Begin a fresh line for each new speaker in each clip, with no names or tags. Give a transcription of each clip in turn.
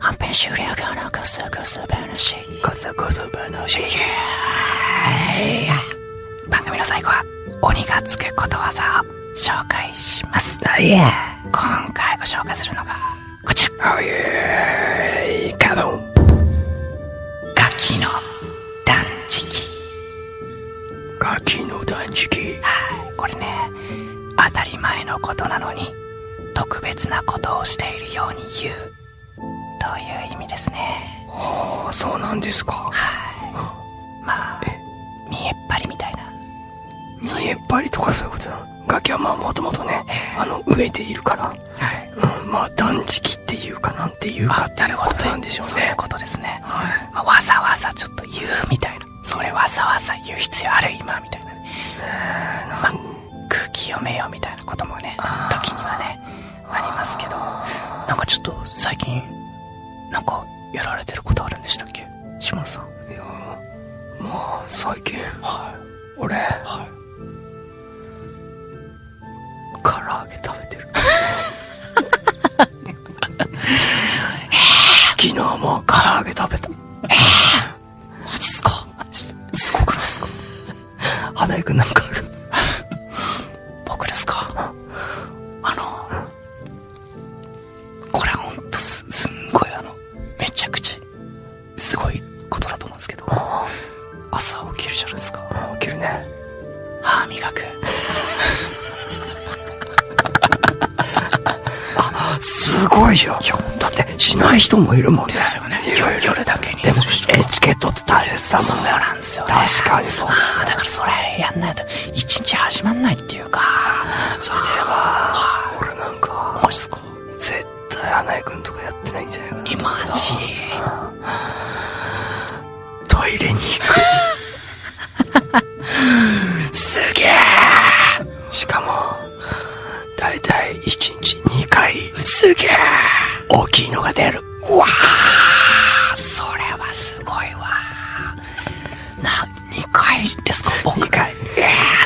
本編終了後のこそこそ話
こそこそ話。
番組の最後は鬼がつくことわざを紹介します
あいや。
今回ご紹介するのがこちら
あいや。カモン。
ガキの断食
ガキの断食。
はいこれね当たり前のことなのに特別なことをしているように言うという意味ですね
ああ、そうなんですか。
はいまあ見えっ張りみたいな
そうやっぱりとかそういうことなの。ガキはまあもともとね、あの、飢えているから、
はい
うん、まあ断食っていうかなんていうかっていうことなんでしょう
そういう
ね。
ことですね、
はい。
まあ、わざわざちょっと言うみたいなそれわざわざ言う必要ある今みたいなね、まあ、空気読めよみたいなこともね時にはねありますけどなんかちょっと最近なんかやられてることあるんでしたっけ島野さん
いやまあ最近
はい
俺
は
唐揚げ食べてる昨日も唐揚げ食べた
いマジっすかすごくないっすか
花井くんなんかある
僕ですかあのこれはほんとすすんごいあのめちゃくちゃすごいことだと思うんですけど朝起きるじゃないですか
起きるね
歯磨く
すごいよだってしない人もいるもんね
ですよね
いろいろ
夜だけに
です
る人
もエチケットって大切だ
そう
もんね
なんですよね
確かにそう
ああだからそれやんないと一日始まんないっていうか
そういえば俺なんか
マジっすか
絶対花井くんとかやってないんじゃないかな
え
と思う
マ
な
ジ
トイレに行く。すげえしかも、だいたい1日2回、
すげえ
大きいのが出る。
わあそれはすごいわな2回ですか僕
2回。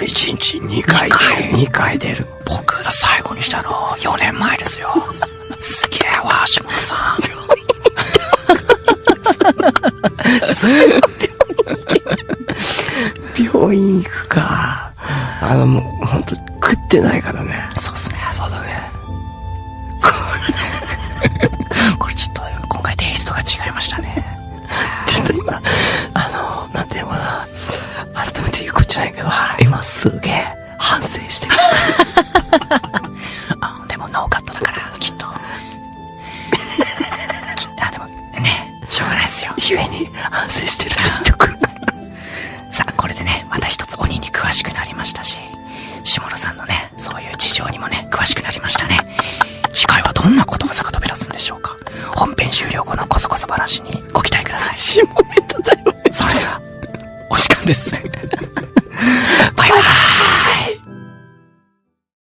1日2回
二回
出る。2回出る。
僕が最後にしたの4年前ですよすげえわ下野さん
病院行くか。あの、もう、ほんと、食ってないからね。
そうっすね
そうだ ね。
これちょっと今回テイストが違いましたね
ちょっと今、あの、なんていうのかな。改めて言うことじゃないけど、今すげえ反省 してる。
あでもノーカットだからき っときあでもねしょうがないっすよ
ゆえに反省してるって言っとく。
さあこれでねまた一つ鬼に詳しくなりましたし下野さんのねそういう事情にもね詳しくなりましたね次回はどんなことがさか飛び出すんでしょうか本編終了後のこ そこそ話にご期待ください
下ネタだよね。
それではお時間です